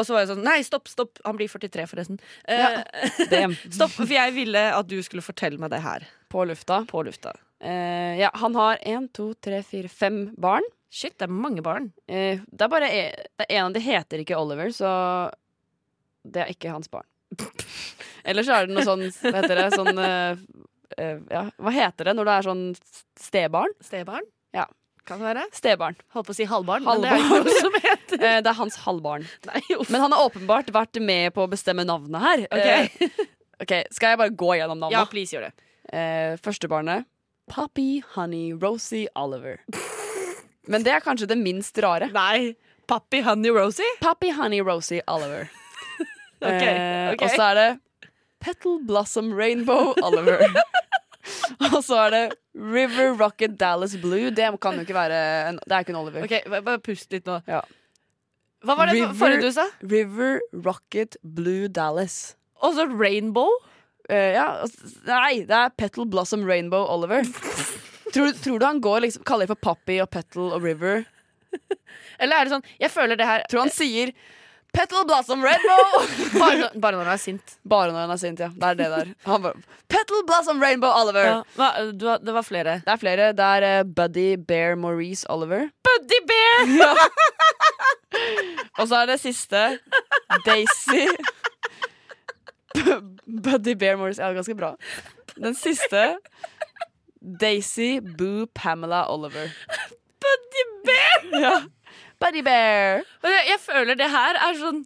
S5: Og så var jeg sånn Nei, stopp, stopp. Han blir 43, forresten. Eh,
S3: Dem.
S5: *laughs* stopp, for jeg ville at du skulle fortelle meg det her.
S3: På lufta.
S5: På lufta.
S3: Eh, ja, han har én, to, tre, fire, fem barn.
S5: Shit, det er mange barn.
S3: Eh, det er bare e- det er en av de heter ikke Oliver, så *laughs* det er ikke hans barn. Eller så er det noe sånn, hva heter det, sånn eh, eh, ja. Hva heter det når du er sånn stebarn?
S5: Stebarn?
S3: Ja.
S5: Kan det være?
S3: Stebarn.
S5: Holdt på å si halvbarn, men
S3: Halvbarn.
S5: det er jo noe som heter
S3: *laughs* Eh, det er hans halvbarn.
S5: *laughs* Nei, uff.
S3: Men han har åpenbart vært med på å bestemme navnet her. Eh, *laughs*
S5: Ok.
S3: ok, Skal jeg bare gå gjennom
S5: Ja,
S3: navnet?
S5: please gjør det.
S3: Eh, første barnet Poppy Honey Rosie *laughs* Oliver. Men det er kanskje det minst rare.
S5: Nei. Pappy Honey Rosie?
S3: Poppy Honey Rosie Oliver.
S5: Ok,
S3: Eh,
S5: ok.
S3: Og så er det Petal Blossom Rainbow
S5: *laughs*
S3: Oliver. og så er det River Rocket Dallas Blue. Det kan jo ikke være en, Det er ikke en Oliver.
S5: Ok, bare- Bare pust litt nå.
S3: Ja.
S5: Hva var det
S3: River-
S5: forrige du sa?
S3: River Rocket Blue Dallas.
S5: Og så Rainbow?
S3: Eh, ja, altså, nei, det er Petal Blossom Rainbow Oliver.
S5: *laughs*
S3: Tror, du- tror du han går liksom, kaller de for Poppy og Petal og River?
S5: Eller er det sånn Jeg føler det her
S3: Tror han sier Petal Blossom Rainbow!
S5: bare, når- bare når jeg er sint.
S3: Bare når han er sint, ja. Det er det der. Han bare, Petal Blossom Rainbow Oliver!
S5: Ja. Hva, du, har- det var flere.
S3: Det er flere. Det er eh, Buddy Bear Maurice Oliver.
S5: Buddy Bear!
S3: *laughs*
S5: *laughs*
S3: Og så er det siste Daisy Bu- *laughs* Buddy Bear Maurice. Ja, ganske bra. Den siste Daisy Boo Pamela Oliver. Buddy Bear! *laughs* Ja. Buddy Bear.
S5: Og Jeg, jeg føler det her er sånn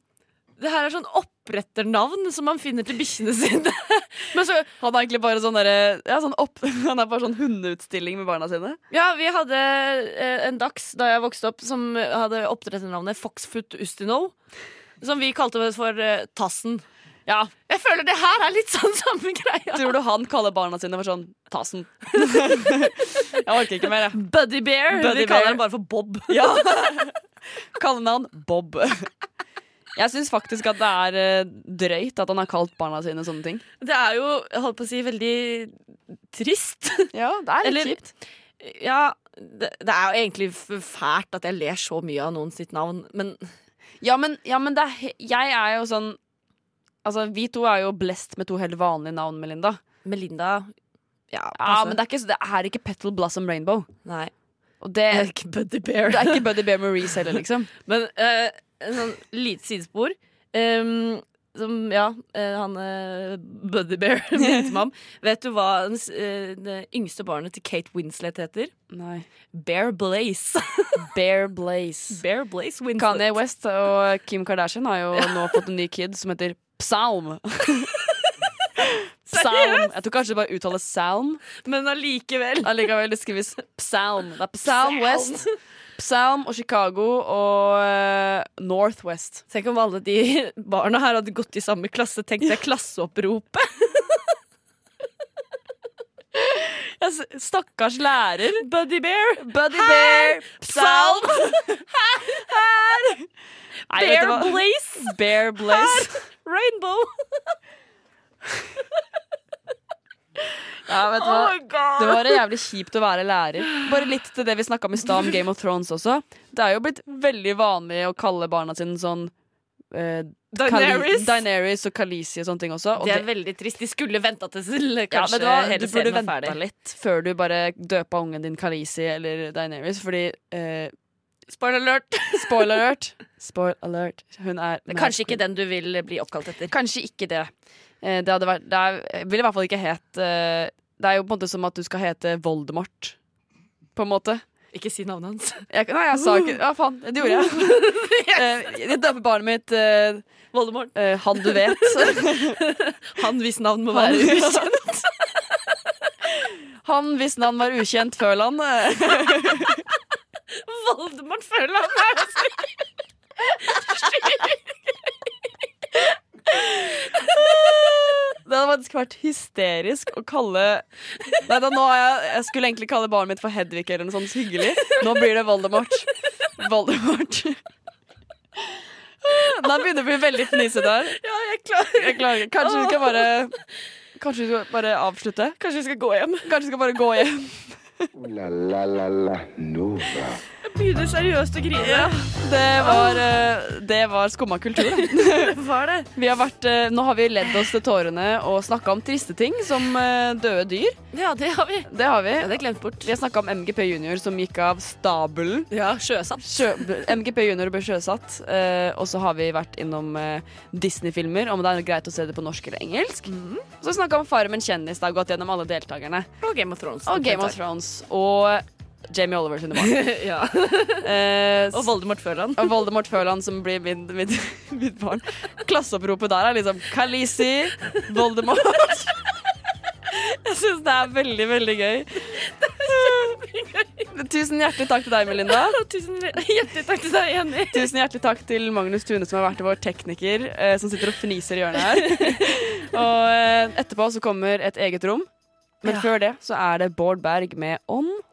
S5: Det her er sånn oppretternavn som man finner til bikkjene sine. *laughs* Men så
S3: Han er egentlig bare sånn derre ja, sånn opp- *laughs* Han er bare sånn hundeutstilling med barna sine.
S5: Ja, vi hadde eh, en dags da jeg vokste opp som hadde oppdretternavnet Foxfoot Ustino. Som vi kalte det for eh, Tassen. Ja. Jeg føler det her er litt sånn *laughs* samme greia.
S3: Tror du han kaller barna sine for sånn Tassen? *laughs* jeg orker ikke mer, jeg.
S5: Buddy Bear.
S3: Buddy
S5: vi
S3: Bear.
S5: kaller den bare for Bob.
S3: Ja. Kallenavn Bob. Jeg syns faktisk at det er eh, drøyt at han har kalt barna sine sånne ting.
S5: *laughs* Det er jo, jeg holdt på å si, veldig trist.
S3: Ja, det er
S5: Eller- Ja, det, det er jo egentlig f- fælt at jeg ler så mye av noen sitt navn, men
S3: Ja, men, ja, men det er, he- jeg er jo sånn Altså, Vi to er jo blest med to helt vanlige navn, Melinda.
S5: Melinda Ja, altså,
S3: Ja, men det er, ikke, det er ikke Petal Blossom Rainbow.
S5: Nei.
S3: Og det,
S5: Jeg er ikke Buddy Bear.
S3: det er ikke Buddy Bear Maurice heller, *laughs* liksom.
S5: *laughs* Men eh, en sånn lite sidespor Ehm, Som, ja, eh, han eh, Buddy Bear *laughs* minte meg om Vet du hva den, s- eh, det yngste barnet til Kate Winslet heter?
S3: Nei.
S5: Bear Blaze
S3: Bear *laughs* Blaze.
S5: Bear Blaze Winslet
S3: Kanye West og Kim Kardashian har jo nå fått en ny kid som heter Psalm.
S5: *laughs*
S3: Psalm. Jeg tror kanskje det bare uttales Salm.
S5: Men allikevel
S3: Allikevel, det skrives Psalm. Det er Psalm West, Psalm og Chicago og eh, Northwest.
S5: Tenk om alle de barna her hadde gått i samme klasse Tenk
S3: *laughs*
S5: deg klasseoppropet
S3: Stakkars lærer.
S5: Buddy Bear
S3: Buddy Bear, Psalm Nei, vet du
S5: Bear
S3: hva?
S5: Blaze
S3: Bear Blaze.
S5: Rainbow
S3: *laughs* Ja, vet du
S5: Oh
S3: hva? Det var jævlig kjipt å være lærer. Bare litt til det vi snakka om i stad, om Game of Thrones også. Det er jo blitt veldig vanlig å kalle barna sine sånn eh, Khali-
S5: Daenerys
S3: Daenerys og Khaleesi og sånne ting også. Og
S5: Det er veldig trist De skulle venta til
S3: ja,
S5: kanskje
S3: vet du hva?
S5: hele
S3: Du
S5: serien
S3: burde
S5: var
S3: venta
S5: ferdig
S3: litt før du bare døpa ungen din Khaleesi eller Daenerys, fordi eh,
S5: Spoiler alert
S3: Spoiler alert! Spoiler alert. Hun er
S5: Det er kanskje ikke den du vil bli oppkalt etter.
S3: Kanskje ikke det. Eh, Det, hadde vært, det er, vil i hvert fall ikke het eh, Det er jo på en måte som at du skal hete Voldemort, på en måte.
S5: Ikke si navnet hans.
S3: Jeg, nei, jeg sa
S5: Uh.
S3: ikke Ja, faen, det
S5: *laughs*
S3: gjorde jeg. Eh, Jeg døper barnet mitt eh,
S5: Voldemort.
S3: eh, Han du vet.
S5: *laughs* Han hvis navn må
S3: Han-
S5: være ukjent.
S3: *laughs* Han hvis navn var ukjent før han. eh.
S5: *laughs* Voldemort føler han er altså
S3: Det hadde faktisk vært hysterisk å kalle Nei, da, nå har jeg, jeg skulle egentlig kalle barnet mitt for Hedvig eller noe sånt hyggelig. Nå blir det Voldemort. Voldemort.
S5: *laughs*
S3: Da begynner det å bli veldig fnisete her.
S5: Ja, jeg klarer
S3: Jeg klarer ikke. Kanskje vi skal bare Kanskje vi skal bare avslutte?
S5: Kanskje vi skal gå hjem.
S3: Kanskje vi skal bare gå hjem?
S2: Ooh la la la la Nova.
S5: begynner seriøst å grine. Ja,
S3: Det var, eh, det var skumma kultur. da.
S5: det var det.
S3: Vi har vært, eh, nå har vi ledd oss til tårene og snakka om triste ting, som eh, døde dyr.
S5: Ja, det har vi.
S3: Det har vi.
S5: Ja, det er glemt bort.
S3: Vi har snakka om MGP junior som gikk av stabelen.
S5: Ja, sjøsatt.
S3: Sjø, MGP junior ble sjøsatt. eh, og så har vi vært innom eh, Disney-filmer, om det er greit å se det på norsk eller engelsk.
S5: Mhm.
S3: Og Så snakka vi om Farmen kjendis. Da har gått gjennom alle deltakerne.
S5: Og Game of Thrones.
S3: Og Game of Thrones og Jamie Oliver sine barn.
S5: ja.
S3: Eh,
S5: Og Voldemort Førland.
S3: og Voldemort Føland som blir mitt, mitt, *laughs* mitt barn. Klasseoppropet der er liksom Kalisi, Voldemort. *laughs* Jeg syns det er veldig, veldig
S5: *laughs*
S3: gøy. Tusen hjertelig takk til deg, Melinda.
S5: Tusen *laughs* hjertelig takk til deg, Jenny.
S3: Tusen hjertelig takk til Magnus Tune, som har vært vår tekniker, eh, som sitter og fniser i hjørnet her. Og eh, etterpå så kommer et eget rom. Men
S5: Ja.
S3: før det så er det Bård Berg med On